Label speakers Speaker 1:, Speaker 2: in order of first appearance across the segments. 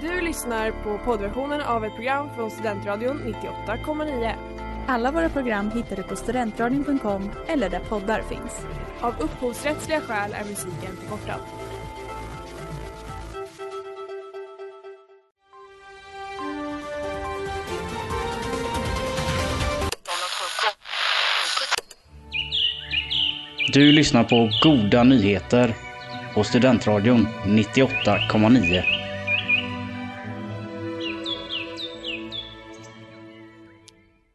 Speaker 1: Du lyssnar på poddversionen av ett program från Studentradion 98,9.
Speaker 2: Alla våra program hittar du på studentradion.com eller där poddar finns.
Speaker 1: Av upphovsrättsliga skäl är musiken förkortad.
Speaker 3: Du lyssnar på Goda Nyheter på Studentradion 98,9.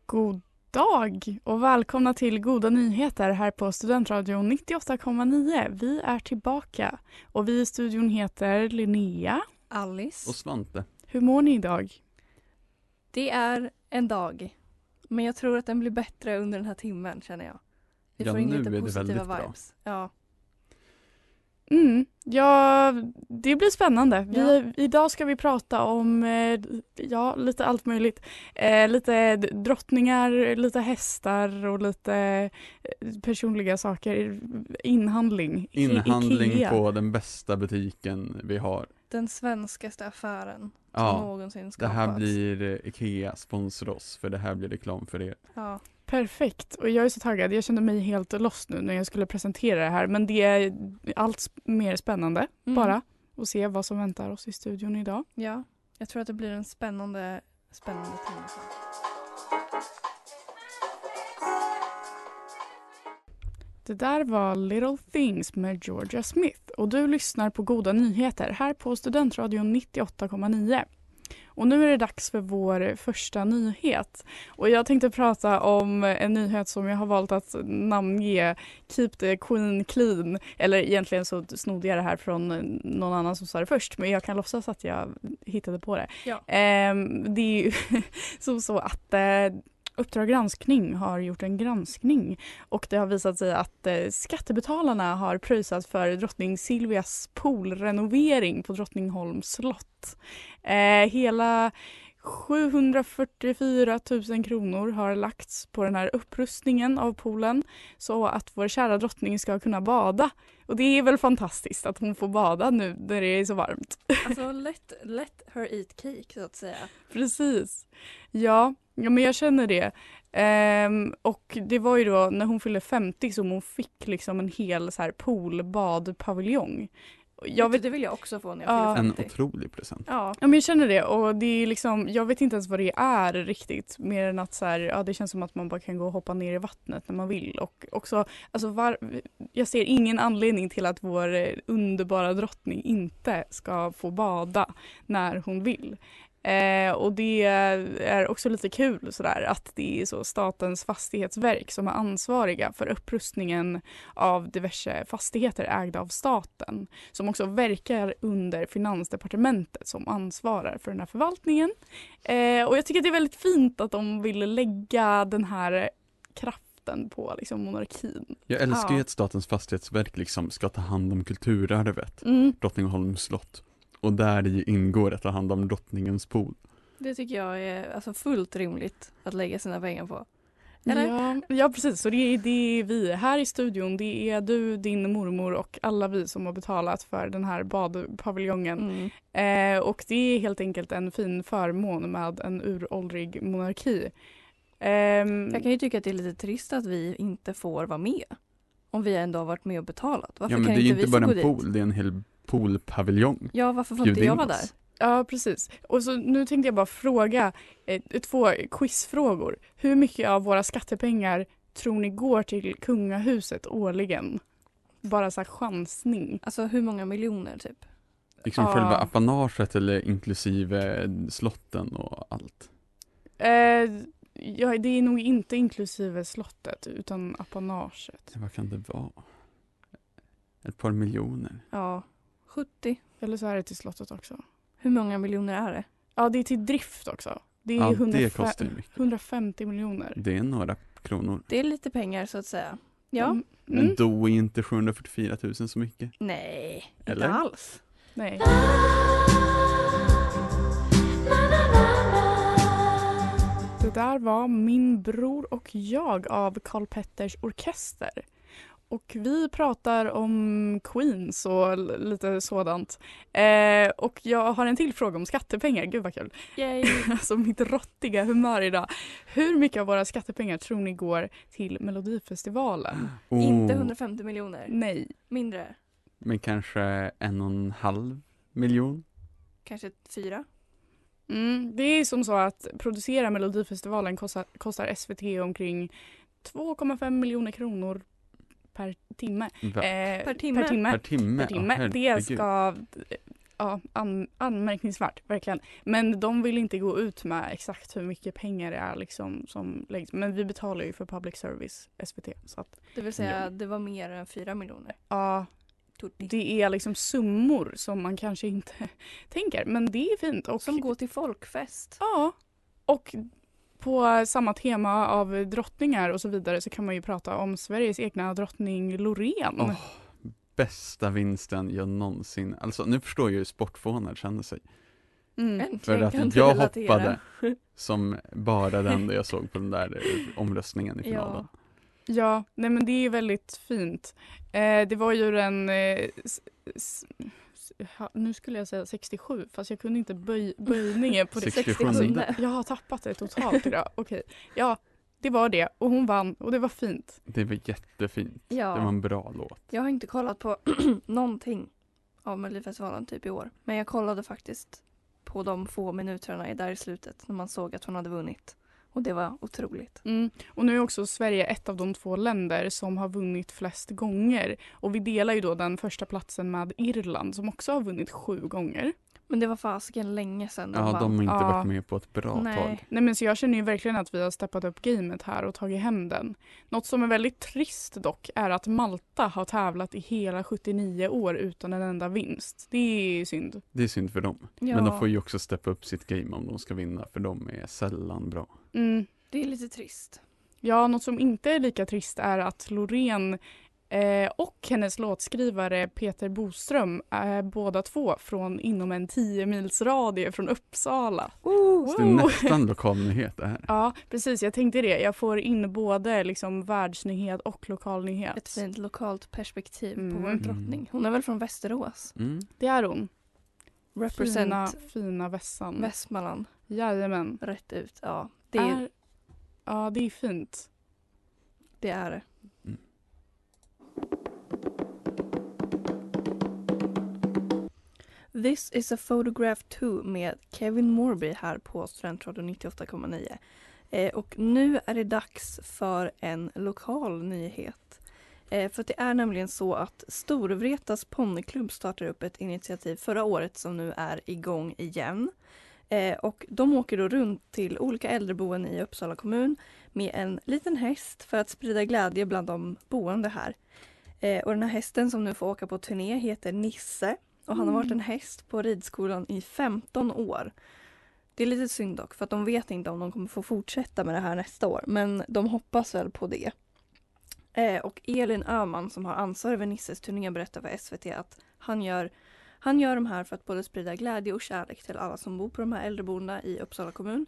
Speaker 4: God dag och välkomna till Goda nyheter här på Studentradion 98,9. Vi är tillbaka och vi i studion heter Linnea.
Speaker 2: Alice.
Speaker 5: Och Svante.
Speaker 4: Hur mår ni idag?
Speaker 6: Det är en dag. Men jag tror att den blir bättre under den här timmen känner jag. Vi
Speaker 5: Ja,
Speaker 6: får in
Speaker 5: nu
Speaker 6: lite
Speaker 5: är det
Speaker 6: positiva
Speaker 5: väldigt bra.
Speaker 6: vibes. Ja.
Speaker 4: Mm, ja, det blir spännande. Vi,
Speaker 6: Ja.
Speaker 4: Idag ska vi prata om eh, ja, lite allt möjligt. Eh, lite d- drottningar, lite hästar och lite eh, personliga saker. Inhandling. I-
Speaker 5: Inhandling
Speaker 4: Ikea.
Speaker 5: på den bästa butiken vi har.
Speaker 6: Den svenskaste affären som
Speaker 5: Ja,
Speaker 6: någonsin
Speaker 5: det
Speaker 6: skapats.
Speaker 5: här blir eh, Ikea, sponsra oss för det här blir reklam för er.
Speaker 6: Ja.
Speaker 4: Perfekt. Och jag är så taggad. Jag kände mig helt lost nu när jag skulle presentera det här. Men det är allt sp- mer spännande
Speaker 6: Mm.
Speaker 4: bara att se vad som väntar oss i studion idag.
Speaker 6: Ja. Jag tror att det blir en spännande, spännande timme.
Speaker 4: Det där var Little Things med Georgia Smith och du lyssnar på Goda Nyheter här på Studentradion 98,9. Och nu är det dags för vår första nyhet och jag tänkte prata om en nyhet som jag har valt att namnge Keep the Queen Clean eller egentligen så snodde jag det här från någon annan som sa det först men jag kan låtsas att jag hittade på det.
Speaker 6: Ja.
Speaker 4: Ehm, det är ju som så att eh, Uppdrag granskning har gjort en granskning och det har visat sig att eh, skattebetalarna har pröjsat för drottning Silvias poolrenovering på Drottningholms slott. Eh, hela 744 000 kronor har lagts på den här upprustningen av poolen så att vår kära drottning ska kunna bada. Och det är väl fantastiskt att hon får bada nu när det är så varmt.
Speaker 6: Alltså let, let her eat cake så att säga.
Speaker 4: Precis. Ja, ja men jag känner det. Ehm, och det var ju då när hon fyllde 50 som hon fick liksom en hel så här poolbadpaviljong. Jag vet,
Speaker 6: Det vill jag också få när
Speaker 4: Ja.
Speaker 6: jag
Speaker 5: En
Speaker 6: fyller 50.
Speaker 5: otrolig present.
Speaker 6: Ja.
Speaker 4: ja men jag känner det och det är liksom, jag vet inte ens vad det är riktigt mer än att så här, ja det känns som att man bara kan gå och hoppa ner i vattnet när man vill och också, alltså var, jag ser ingen anledning till att vår eh, underbara drottning inte ska få bada när hon vill. Eh, och det är också lite kul sådär att det är så Statens fastighetsverk som är ansvariga för upprustningen av diverse fastigheter ägda av staten som också verkar under Finansdepartementet som ansvarar för den här förvaltningen. Eh, och jag tycker att det är väldigt fint att de ville lägga den här kraften på liksom, monarkin.
Speaker 5: Jag älskar ju
Speaker 4: Ja.
Speaker 5: att Statens fastighetsverk liksom ska ta hand om kulturarvet,
Speaker 4: Mm.
Speaker 5: Drottningholms slott. Och där i ingår att ta hand om drottningens pool.
Speaker 6: Det tycker jag är alltså, fullt rimligt att lägga sina pengar på. Eller?
Speaker 4: Ja, ja precis, så det är, det är vi här i studion. Det är du, din mormor och alla vi som har betalat för den här badpaviljongen.
Speaker 6: Mm.
Speaker 4: Eh, och det är helt enkelt en fin förmån med en uråldrig monarki. Ehm,
Speaker 6: Jag kan ju tycka att det är lite trist att vi inte får vara med. Om vi ändå har varit med och betalat. Varför
Speaker 5: ja men
Speaker 6: kan
Speaker 5: det är ju
Speaker 6: inte vi
Speaker 5: inte
Speaker 6: få
Speaker 5: bara
Speaker 6: gå
Speaker 5: en
Speaker 6: dit?
Speaker 5: pool, det är en hel poolpaviljong.
Speaker 6: Ja, varför får
Speaker 5: Bjud
Speaker 6: inte jag
Speaker 5: in
Speaker 6: vara där?
Speaker 5: oss.
Speaker 4: Ja, precis. Och så nu tänkte jag bara fråga eh, två quizfrågor. Hur mycket av våra skattepengar tror ni går till kungahuset årligen? Bara så här chansning.
Speaker 6: Alltså hur många miljoner typ?
Speaker 5: Liksom
Speaker 4: Ja.
Speaker 5: själva apanaget eller inklusive slotten och allt.
Speaker 4: Eh, ja, det är nog inte inklusive slottet utan apanaget.
Speaker 5: Vad kan det vara? Ett par miljoner.
Speaker 6: Ja, 70.
Speaker 4: Eller så är det till slottet också.
Speaker 6: Hur många miljoner är det?
Speaker 4: Ja, det är till drift också. Det är
Speaker 5: Ja,
Speaker 4: 105
Speaker 5: det kostar ju mycket.
Speaker 4: 150 miljoner.
Speaker 5: Det är några kronor.
Speaker 6: Det är lite pengar så att säga. Ja.
Speaker 4: Mm.
Speaker 5: Men då är inte 744 000 så mycket.
Speaker 6: Nej,
Speaker 5: Eller?
Speaker 6: inte alls.
Speaker 4: Nej. Det där var Min bror och jag av Karl Petters Orkester. Och vi pratar om Queens och l- lite sådant. Eh, och jag har en till fråga om skattepengar. Gud vad kul.
Speaker 6: Yay.
Speaker 4: Alltså mitt råttiga humör idag. Hur mycket av våra skattepengar tror ni går till Melodifestivalen?
Speaker 5: Oh,
Speaker 6: Inte 150 miljoner.
Speaker 4: Nej.
Speaker 6: Mindre.
Speaker 5: Men kanske en och en halv miljon?
Speaker 6: Kanske fyra.
Speaker 4: Mm, det är som så att producera Melodifestivalen kostar, kostar SVT omkring 2,5 miljoner kronor per timme.
Speaker 5: Va?
Speaker 4: Eh,
Speaker 6: Per timme?
Speaker 4: Per timme.
Speaker 5: per timme?
Speaker 4: per timme.
Speaker 5: Ja,
Speaker 4: det
Speaker 5: herregud.
Speaker 4: ska, ja, an, anmärkningsvärt verkligen. Men de vill inte gå ut med exakt hur mycket pengar det är liksom som läggs. Men vi betalar ju för public service, SVT. Så att,
Speaker 6: Det vill säga det var mer än fyra miljoner.
Speaker 4: ja,
Speaker 6: Tutti.
Speaker 4: det är liksom summor som man kanske inte tänker. Men det är typ fint. Och,
Speaker 6: Som går till folkfest.
Speaker 4: Ja, och på samma tema av drottningar och så vidare så kan man ju prata om Sveriges egna drottning Loreen.
Speaker 5: Åh, Bästa vinsten jag någonsin, alltså nu förstår jag hur sportfånar känner sig.
Speaker 4: Mm.
Speaker 6: Äntligen
Speaker 5: För
Speaker 6: kan
Speaker 5: att
Speaker 6: du
Speaker 5: jag
Speaker 6: relatera.
Speaker 5: hoppade som bara den jag såg på den där eh, omröstningen i finalen.
Speaker 4: Ja, nej men det är väldigt fint. Eh, det var ju den, eh, s, s, s, ha, nu skulle jag säga 67 fast jag kunde inte böj, böjningen på det.
Speaker 5: 67.
Speaker 4: Alltså,
Speaker 5: Sjunde.
Speaker 4: jag har tappat det totalt idag. Okej, ja det var det och hon vann och det var fint.
Speaker 5: Det var jättefint. Det var
Speaker 6: Ja.
Speaker 5: en bra låt.
Speaker 6: Jag har inte kollat på någonting av Melodifestivalen typ i år. Men jag kollade faktiskt på de få minuterna i där i slutet när man såg att hon hade vunnit. Och det var otroligt.
Speaker 4: Mm. Och nu är också Sverige ett av de två länder som har vunnit flest gånger. Och vi delar ju då den första platsen med Irland som också har vunnit sju gånger.
Speaker 6: Men det var fasiken länge sedan de
Speaker 5: Ja,
Speaker 6: vann.
Speaker 5: de har inte
Speaker 4: Ja.
Speaker 5: varit med på ett bra tag.
Speaker 6: Nej.
Speaker 4: Nej men så jag känner ju verkligen att vi har steppat upp gamet här och tagit hem den. Något som är väldigt trist dock är att Malta har tävlat i hela 79 år utan en enda vinst. Det är ju synd.
Speaker 5: Det är synd för dem.
Speaker 6: Ja,
Speaker 5: Men de får ju också steppa upp sitt game om de ska vinna, för de är sällan bra.
Speaker 4: Mm.
Speaker 6: Det är lite trist.
Speaker 4: Ja, något som inte är lika trist är att Loreen eh, och hennes låtskrivare Peter Boström är båda två från inom en 10 mils radie från Uppsala.
Speaker 5: Så det är nästan lokalnyhet det här.
Speaker 4: Ja, precis. Jag tänkte det. Jag får in både liksom världsnyhet och
Speaker 6: Ett
Speaker 4: lokalnyhet.
Speaker 6: fint lokalt perspektiv på vår
Speaker 4: Mm.
Speaker 6: drottning. Hon är väl från Västerås?
Speaker 5: Mm.
Speaker 4: Det är hon.
Speaker 6: Represent
Speaker 4: Fina, fina vässan.
Speaker 5: Mm.
Speaker 6: Västmanland
Speaker 4: Jajamän.
Speaker 6: rätt ut. Ja, det
Speaker 5: Ah.
Speaker 6: är,
Speaker 4: Är- Ja, det är fint.
Speaker 6: det. Är. det. This is a photograph too med Kevin Morby här på Studentradion 98,9. Eh, och nu är det dags för en lokal nyhet. Eh, för att det är nämligen så att Storvretas ponnyklubb startade upp ett initiativ förra året som nu är igång igen. Eh, och de åker då runt till olika äldreboenden i Uppsala kommun med en liten häst för att sprida glädje bland de boende här. Eh, och den här hästen som nu får åka på turné heter Nisse och han har varit en häst på ridskolan i 15 år. Det är lite synd dock för att de vet inte om de kommer få fortsätta med det här nästa år men de hoppas väl på det. Eh, och Elin Öhman som har ansvar över Nisses turné berättar för SVT att han gör, han gör de här för att både sprida glädje och kärlek till alla som bor på de här äldreboendena i Uppsala kommun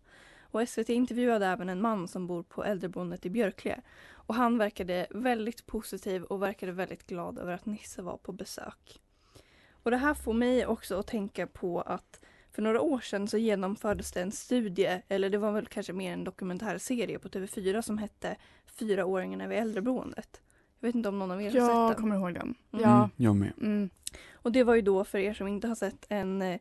Speaker 6: och SVT intervjuade även en man som bor på äldreboendet i Björkle. Och han verkade väldigt positiv och verkade väldigt glad över att Nisse var på besök. Och det här får mig också att tänka på att för några år sedan så genomfördes det en studie, eller det var väl kanske mer en dokumentärserie på TV4 som hette Fyraåringarna vid äldreboendet. Jag vet inte om någon av er har
Speaker 4: Jag
Speaker 6: sett den.
Speaker 4: kommer ihåg den.
Speaker 6: Mm.
Speaker 4: Ja.
Speaker 5: Jag med.
Speaker 4: Mm.
Speaker 6: Och det var ju då för er som inte har sett en eh,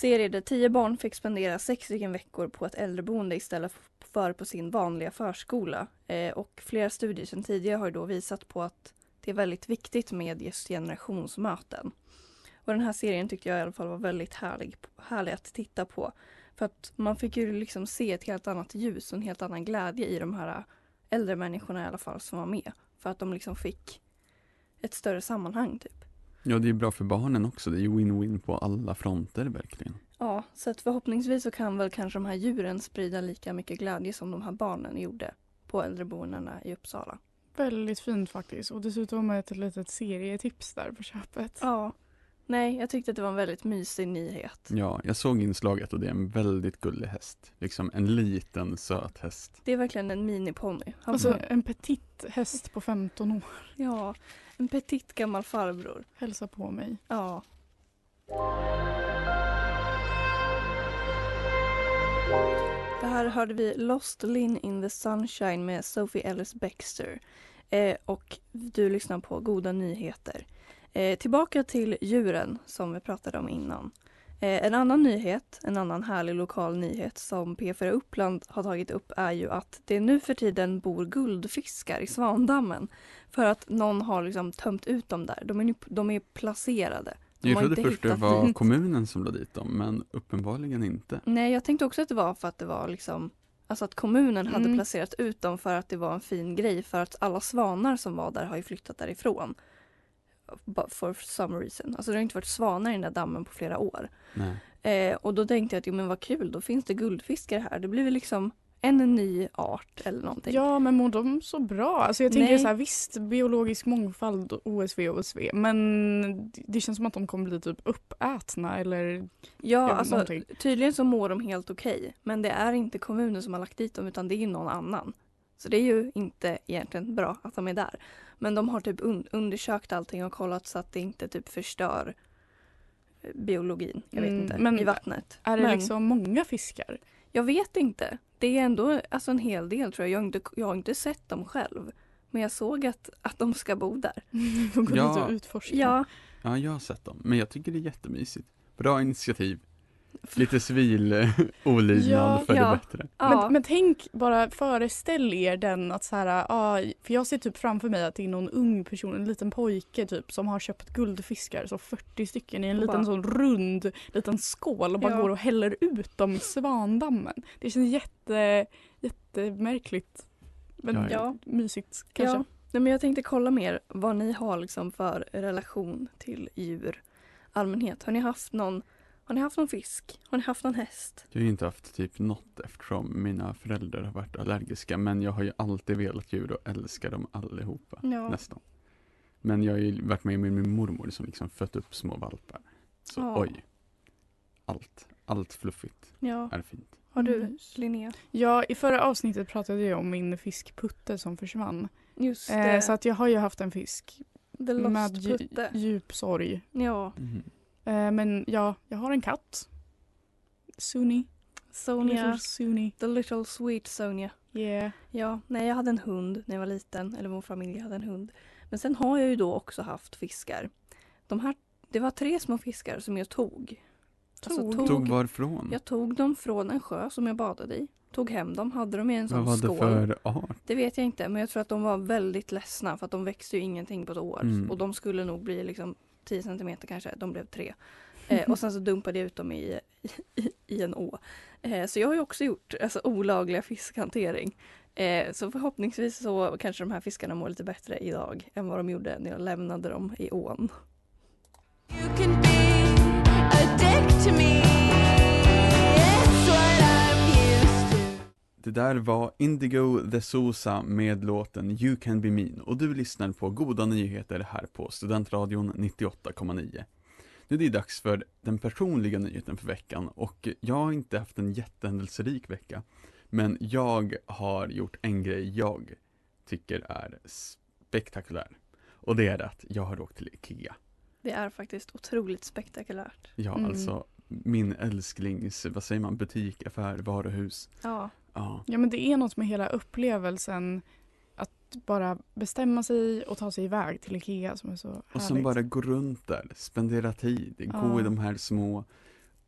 Speaker 6: serie där tio barn fick spendera sex stycken veckor på ett äldreboende istället f- för på sin vanliga förskola. Eh, och flera studier sedan tidigare har ju då visat på att det är väldigt viktigt med just generationsmöten. Och den här serien tyckte jag i alla fall var väldigt härlig, härlig att titta på. För att man fick ju liksom se ett helt annat ljus och en helt annan glädje i de här eh, äldre människorna i alla fall som var med. För att de liksom fick ett större sammanhang typ.
Speaker 5: Ja, det är bra för barnen också. Det är ju win-win på alla fronter verkligen.
Speaker 6: Ja, så att förhoppningsvis så kan väl kanske de här djuren sprida lika mycket glädje som de här barnen gjorde på äldreboendena i Uppsala.
Speaker 4: Väldigt fint faktiskt. Och dessutom ett litet serietips där på köpet.
Speaker 6: Ja, Nej, jag tyckte att det var en väldigt mysig nyhet.
Speaker 5: Ja, jag såg inslaget och det är en väldigt gullig häst. Liksom en liten söt häst.
Speaker 6: Det är verkligen en miniponny. Han-
Speaker 4: Alltså en petit häst på 15 år.
Speaker 6: Ja, en petit gammal farbror.
Speaker 4: Hälsa på mig.
Speaker 6: Ja. Det här hörde vi Lost Lin in the Sunshine med Sophie Ellis Bextor. Eh, och du lyssnar på Goda Nyheter. Eh, tillbaka till djuren som vi pratade om innan. Eh, en annan nyhet, en annan härlig lokal nyhet som P4 Uppland har tagit upp är ju att det nu för tiden bor guldfiskar i Svandammen. För att någon har liksom tömt ut dem där. De är, nu- de är placerade. De
Speaker 5: Jag
Speaker 6: har
Speaker 5: trodde
Speaker 6: inte
Speaker 5: först det
Speaker 6: hittat
Speaker 5: var
Speaker 6: dit.
Speaker 5: kommunen som lade dit dem, men uppenbarligen inte.
Speaker 6: Nej, jag tänkte också att det var för att det var liksom Alltså att kommunen hade
Speaker 4: Mm.
Speaker 6: placerat ut dem för att det var en fin grej för att alla svanar som var där har ju flyttat därifrån. But for some reason. Alltså det har inte varit svanar i den där dammen på flera år.
Speaker 5: Nej.
Speaker 6: Eh, och då tänkte jag att jo men vad kul, då finns det guldfiskar här. Det blir väl liksom en ny art eller någonting.
Speaker 4: Ja men mår de så bra? Alltså jag tänker
Speaker 6: Nej.
Speaker 4: så här visst biologisk mångfald OSV OSV men det känns som att de kommer bli typ uppätna eller
Speaker 6: ja
Speaker 4: ja,
Speaker 6: alltså
Speaker 4: någonting.
Speaker 6: tydligen så mår de helt okej. men det är inte kommunen som har lagt dit dem utan det är någon annan. Så det är ju inte egentligen bra att de är där. Men de har typ un- undersökt allting och kollat så att det inte typ förstör eh, biologin, jag vet
Speaker 4: Mm,
Speaker 6: inte,
Speaker 4: men
Speaker 6: i vattnet.
Speaker 4: Är det
Speaker 6: Men-
Speaker 4: liksom många fiskar?
Speaker 6: Jag vet inte. Det är ändå alltså en hel del tror jag. Jag har inte, jag har inte sett dem själv. Men jag såg att, att de ska bo där.
Speaker 4: De går
Speaker 5: Ja.
Speaker 4: dit och utforskar.
Speaker 6: Ja,
Speaker 5: Ja, jag har sett dem, men jag tycker det är jättemysigt. Bra initiativ. Lite civil eh, olydnad
Speaker 4: Ja,
Speaker 5: för
Speaker 6: ja.
Speaker 5: det bättre.
Speaker 6: ja.
Speaker 4: Men, men tänk bara föreställ er den att så här, ah, för jag ser typ framför mig att det är någon ung person, en liten pojke typ som har köpt guldfiskar, så 40 stycken i en
Speaker 6: Och
Speaker 4: liten
Speaker 6: bara-
Speaker 4: sån rund liten skål och bara
Speaker 6: Ja.
Speaker 4: går och häller ut dem i svandammen. Det känns jätte, jättemärkligt. Men
Speaker 5: Ja,
Speaker 6: ja.
Speaker 4: mysigt kanske.
Speaker 6: Ja. Nej, men jag tänkte kolla mer vad ni har liksom för relation till djur allmänhet. Har ni haft någon, har ni haft någon fisk? Har ni haft någon häst?
Speaker 5: Jag har ju inte haft typ något eftersom mina föräldrar har varit allergiska, men jag har ju alltid velat djur och älskar dem allihopa.
Speaker 6: Ja.
Speaker 5: Nästan. Men jag har ju varit med med min mormor som liksom fött upp små valpar. Så
Speaker 6: Ja.
Speaker 5: oj. Allt, allt fluffigt
Speaker 6: ja.
Speaker 5: är fint.
Speaker 6: Har du
Speaker 4: Mm.
Speaker 6: Linnea?
Speaker 4: Ja, i förra avsnittet pratade jag om min fisk Putte som försvann.
Speaker 6: Just
Speaker 4: Eh, så att jag har ju haft en fisk
Speaker 6: The
Speaker 4: med
Speaker 6: Lost
Speaker 4: dju-
Speaker 6: Putte.
Speaker 4: djup sorg.
Speaker 6: Ja.
Speaker 4: Eh, men ja, jag har en katt. Suni.
Speaker 6: Sonia.
Speaker 4: Little Suni.
Speaker 6: The Little Sweet Sonia.
Speaker 4: Yeah.
Speaker 6: Ja, nej jag hade en hund när jag var liten, eller vår familj hade en hund. Men sen har jag ju då också haft fiskar. De här, det var tre små fiskar som jag tog. Alltså,
Speaker 4: Tog?
Speaker 5: Tog varifrån?
Speaker 6: Jag tog dem från en sjö som jag badade i. Tog hem dem, hade dem i en
Speaker 5: Vad
Speaker 6: sån
Speaker 5: var det
Speaker 6: skål.
Speaker 5: för art?
Speaker 6: Det vet jag inte, men jag tror att de var väldigt ledsna för att de växte ju ingenting på ett år.
Speaker 5: Mm.
Speaker 6: Och de skulle nog bli liksom 10 centimeter kanske, de blev tre. Eh, och sen så dumpade jag ut dem i, i, i en å. Eh, så jag har ju också gjort alltså, olagliga fiskhantering. Eh, så förhoppningsvis så kanske de här fiskarna mår lite bättre idag än vad de gjorde när jag lämnade dem i ån.
Speaker 7: You can be a dick to me. It's what I'm used to.
Speaker 5: Det där var Indigo the Sosa med låten You can be mean och du lyssnar på goda nyheter här på Studentradion 98,9. Nu är det dags för den personliga nyheten för veckan och jag har inte haft en jättehändelserik vecka. Men jag har gjort en grej jag tycker är spektakulär. Och det är att jag har åkt till IKEA.
Speaker 6: Det är faktiskt otroligt spektakulärt.
Speaker 5: Ja,
Speaker 4: Mm.
Speaker 5: alltså min älsklings, vad säger man, butik, affär, varuhus.
Speaker 6: Ja,
Speaker 5: Ja,
Speaker 4: Ja men det är något med hela upplevelsen att bara bestämma sig och ta sig iväg till Ikea som är så
Speaker 5: och
Speaker 4: härligt.
Speaker 5: sen bara gå runt där, spendera tid, gå
Speaker 4: liksom. Ja.
Speaker 5: i de här små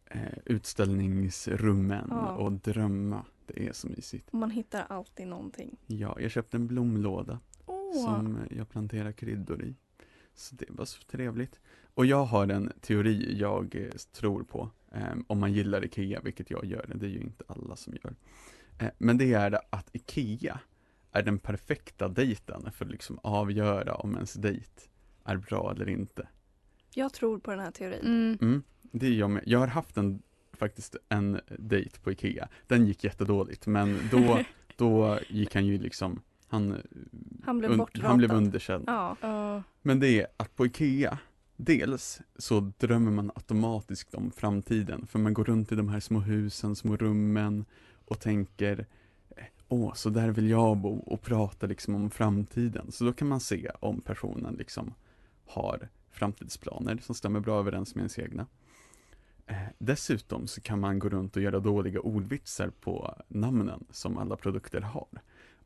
Speaker 5: eh, utställningsrummen
Speaker 6: Ja.
Speaker 5: och drömma. Det är så mysigt.
Speaker 6: man hittar alltid någonting.
Speaker 5: Ja, jag köpte en blomlåda
Speaker 4: Åh.
Speaker 5: som jag planterar kryddor i. Så det var så trevligt. Och jag har en teori jag eh, tror på, eh, om man gillar IKEA, vilket jag gör, det är ju inte alla som gör. Eh, men det är att IKEA är den perfekta dejten för att liksom avgöra om ens dejt är bra eller inte.
Speaker 6: Jag tror på den här teorin.
Speaker 4: Mm.
Speaker 5: Mm, det är jag med. Jag har haft en, faktiskt en dejt på IKEA. Den gick jättedåligt, men då, då gick han ju liksom, han,
Speaker 6: Han blev
Speaker 5: un-
Speaker 6: bortratad.
Speaker 5: han blev underkänd.
Speaker 6: Ja,
Speaker 4: Ja.
Speaker 5: Men det är att på IKEA Dels så drömmer man automatiskt om framtiden, för man går runt i de här små husen, små rummen och tänker Åh, så där vill jag bo och pratar liksom om framtiden. Så då kan man se om personen liksom har framtidsplaner som stämmer bra överens med ens egna. Eh, Dessutom så kan man gå runt och göra dåliga ordvitsar på namnen som alla produkter har.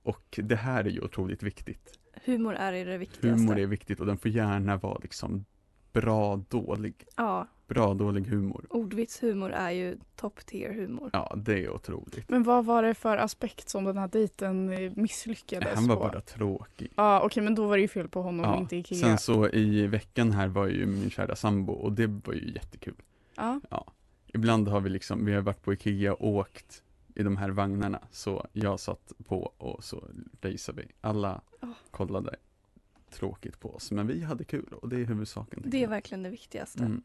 Speaker 5: Och det här är ju otroligt viktigt.
Speaker 6: Humor är ju det viktigaste.
Speaker 5: Humor är viktigt och den får gärna vara liksom bra dålig.
Speaker 6: Ja,
Speaker 5: Bra dålig humor.
Speaker 6: ordvitshumor är ju top tier humor.
Speaker 5: Ja, det är otroligt.
Speaker 4: Men vad var det för aspekt som den här dejten eh, misslyckades
Speaker 5: Han var
Speaker 4: på?
Speaker 5: bara tråkig.
Speaker 4: Ja okej men då var det ju fel på honom och inte Ikea.
Speaker 5: Sen så i veckan här var ju min kära sambo och det var ju jättekul.
Speaker 4: Ja.
Speaker 5: Ibland har vi liksom, vi har varit på Ikea och åkt i de här vagnarna. Så jag satt på och så raceade vi. Alla
Speaker 6: Ja.
Speaker 5: kollade tråkigt på oss, men vi hade kul och det är huvudsaken. tycker
Speaker 6: Det är
Speaker 5: jag.
Speaker 6: verkligen det viktigaste.
Speaker 5: Mm.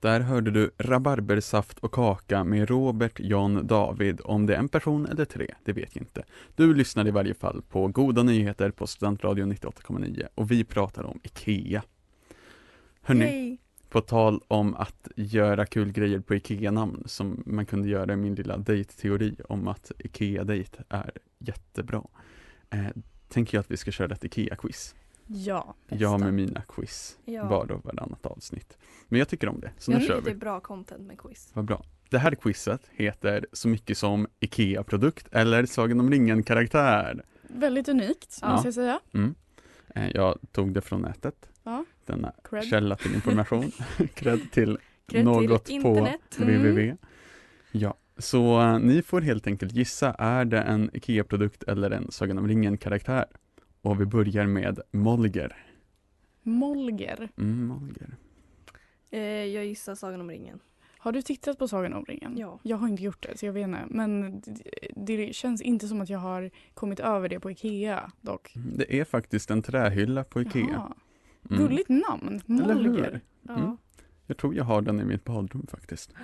Speaker 5: Där hörde du Rabarbersaft och kaka med Robert John David. Om det är en person eller tre, det vet jag inte. Du lyssnar i varje fall på Goda Nyheter på Studentradion 98,9 och vi pratar om IKEA. Hörni,
Speaker 6: Yay!
Speaker 5: på tal om att göra kul grejer på IKEA-namn som man kunde göra i min lilla dejtteori om att IKEA-dejt är jättebra. Eh, tänker jag att vi ska köra ett IKEA-quiz.
Speaker 4: ja.
Speaker 5: Jag med mina quiz,
Speaker 6: Ja.
Speaker 5: var och varannat avsnitt. Men jag tycker om det, så
Speaker 6: jag
Speaker 5: nu
Speaker 6: tycker
Speaker 5: kör
Speaker 6: det är
Speaker 5: vi.
Speaker 6: bra content med quiz.
Speaker 5: Vad bra. Det här quizet heter så mycket som IKEA-produkt eller Sagan om ringen-karaktär.
Speaker 4: Väldigt unikt
Speaker 5: Ja.
Speaker 4: måste jag säga.
Speaker 5: Mm. Eh, jag tog det från nätet,
Speaker 4: Ja.
Speaker 5: denna
Speaker 4: Cred.
Speaker 5: källa till information. Cred till
Speaker 6: Cred
Speaker 5: något
Speaker 6: till
Speaker 5: på
Speaker 6: internet.
Speaker 4: Mm.
Speaker 5: www. Ja, så eh, ni får helt enkelt gissa, är det en IKEA-produkt eller en Sagan om ringen-karaktär? Och vi börjar med Molger.
Speaker 4: Molger.
Speaker 5: Mm, Molger.
Speaker 6: Eh, jag gissar Sagan om ringen.
Speaker 4: Har du tittat på Sagan om ringen?
Speaker 6: Ja.
Speaker 4: Jag har inte gjort det så jag vet inte. Men det, det känns inte som att jag har kommit över det på Ikea dock.
Speaker 5: Mm, Det är faktiskt en trähylla på IKEA.
Speaker 4: Jaha.
Speaker 5: Mm.
Speaker 4: Gulligt namn.
Speaker 5: Eller hur?
Speaker 4: Molger.
Speaker 6: Ja.
Speaker 5: Mm. Jag tror jag har den i mitt badrum faktiskt.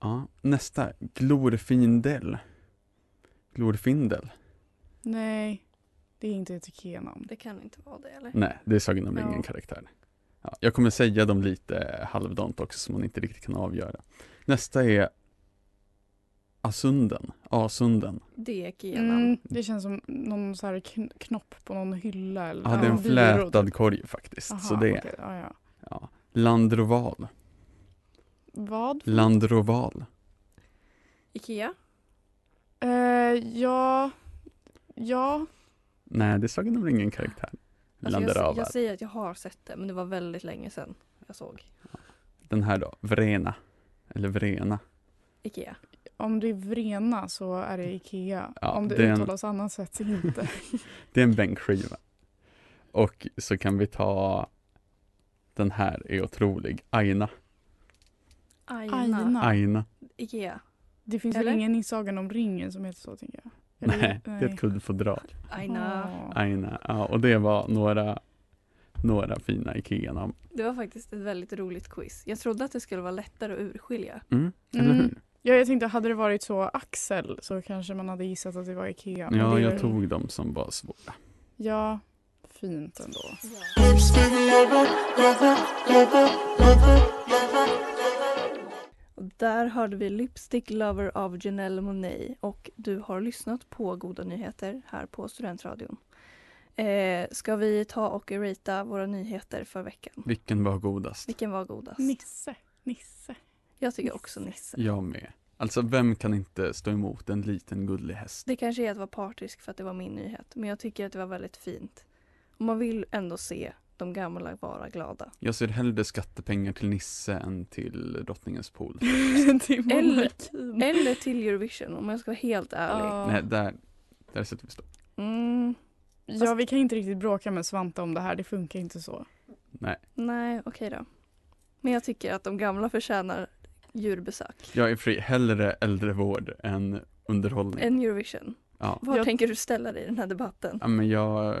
Speaker 5: Ja, nästa, Glorfindel. Glorfindel?
Speaker 4: Nej. Det är inte ett Ikea-namn.
Speaker 6: Det kan inte vara det eller?
Speaker 5: Nej, det är Sagan om
Speaker 6: Ja.
Speaker 5: ringen-karaktär. Ja, jag kommer säga dem lite halvdant också som man inte riktigt kan avgöra. Nästa är Asunden, Asunden.
Speaker 6: Det är Ikea-namn.
Speaker 4: Mm, det känns som någon så här kn- knopp på någon hylla. Eller
Speaker 5: Ja, det är en
Speaker 4: någon byrå.
Speaker 5: flätad korg faktiskt. så
Speaker 4: Aha,
Speaker 5: det är
Speaker 4: okej. ja, ja.
Speaker 5: ja. Landroval,
Speaker 4: Vad?
Speaker 5: Landroval.
Speaker 6: Ikea? Alltså,
Speaker 4: Eh, ja. Ja.
Speaker 5: Nej, det är Sagan om ringen-karaktär.
Speaker 6: Alltså, jag,
Speaker 5: Landroval.
Speaker 6: sä- jag säger att jag har sett det men det var väldigt länge sedan jag såg
Speaker 5: Den här då, Vrena. Eller Vrena.
Speaker 6: Ikea.
Speaker 4: Om det är Vrena så är det Ikea.
Speaker 5: Ja,
Speaker 4: Om det,
Speaker 5: det är en-
Speaker 4: uttalas annat sätt så inte.
Speaker 5: Det är en bänkskiva. Och så kan vi ta den här är otrolig, Aina.
Speaker 6: Aina.
Speaker 4: Aina.
Speaker 5: Aina.
Speaker 6: Ikea.
Speaker 4: Det finns
Speaker 6: Eller?
Speaker 4: väl ingen i Sagan om ringen som heter så tänker jag. Eller-
Speaker 5: Nej, det är ett kuddfodral.
Speaker 6: Aina.
Speaker 4: Åh.
Speaker 5: Aina. Ja, och det var några, några fina IKEA-namn.
Speaker 6: Det var faktiskt ett väldigt roligt quiz. Jag trodde att det skulle vara lättare att urskilja.
Speaker 5: Mm, eller
Speaker 4: Mm.
Speaker 5: hur?
Speaker 4: Ja, jag tänkte hade det varit så Axel så kanske man hade gissat att det var Ikea. men
Speaker 5: Ja,
Speaker 4: det är
Speaker 5: jag
Speaker 4: väl-
Speaker 5: tog dem som var svåra.
Speaker 4: Ja, fint ändå.
Speaker 6: Och där hörde vi Lipstick Lover av Janelle Monet och du har lyssnat på Goda Nyheter här på Studentradion. Eh, ska vi ta och ratea våra nyheter för veckan?
Speaker 5: Vilken var godast?
Speaker 6: Vilken var godast?
Speaker 4: Nisse, Nisse.
Speaker 6: Jag tycker också Nisse.
Speaker 5: Jag med. Alltså, vem kan inte stå emot en liten gullig häst?
Speaker 6: Det kanske är att vara partisk för att det var min nyhet, men jag tycker att det var väldigt fint. Och man vill ändå se de gamla vara glada.
Speaker 5: Jag ser hellre skattepengar till Nisse än till Drottningens pool.
Speaker 4: det är
Speaker 6: Eller-
Speaker 4: monarkin.
Speaker 6: Eller till Eurovision om jag ska vara helt ärlig.
Speaker 4: Ja.
Speaker 5: Nej, där, där sätter vi stopp.
Speaker 6: Mm,
Speaker 4: ja, vi kan inte riktigt bråka med Svante om det här. Det funkar inte så.
Speaker 5: Nej,
Speaker 6: nej, okej då. Men jag tycker att de gamla förtjänar djurbesök.
Speaker 5: jag är fri. Hellre äldrevård än underhållning.
Speaker 6: En Eurovision.
Speaker 5: Ja.
Speaker 6: Var
Speaker 4: Jag-
Speaker 6: tänker du ställa dig i den här debatten?
Speaker 5: Ja, men jag...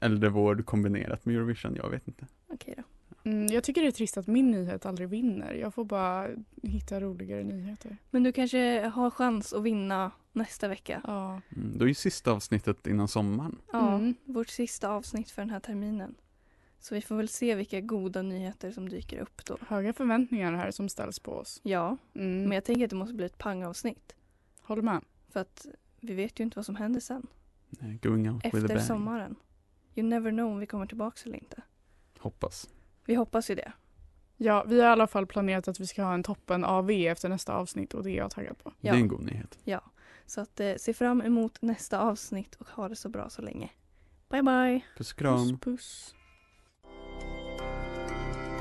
Speaker 5: Äldrevård kombinerat med Eurovision, jag vet inte.
Speaker 6: Okej då.
Speaker 4: Mm, jag tycker det är trist att min nyhet aldrig vinner. Jag får bara hitta roligare nyheter.
Speaker 6: Men du kanske har chans att vinna nästa vecka.
Speaker 4: Ja.
Speaker 5: Mm, då är ju sista avsnittet innan sommaren.
Speaker 6: Ja,
Speaker 4: Mm.
Speaker 6: vårt sista avsnitt för den här terminen. Så vi får väl se vilka goda nyheter som dyker upp då.
Speaker 4: Höga förväntningar här som ställs på oss.
Speaker 6: Ja,
Speaker 4: Mm.
Speaker 6: men jag tänker att det måste bli ett pangavsnitt.
Speaker 4: Håller med.
Speaker 6: För att vi vet ju inte vad som händer sen.
Speaker 5: Nej, Going out with a
Speaker 6: Efter
Speaker 5: bang.
Speaker 6: sommaren. You never know om vi kommer tillbaka eller inte.
Speaker 5: Hoppas.
Speaker 6: Vi hoppas ju det.
Speaker 4: Ja, vi har i alla fall planerat att vi ska ha en toppen AV efter nästa avsnitt och det är jag taggad på.
Speaker 6: Ja.
Speaker 5: Det är en god nyhet.
Speaker 6: Så att eh, se fram emot nästa avsnitt och ha det så bra så länge. Bye bye!
Speaker 5: Puss och kram.
Speaker 4: puss.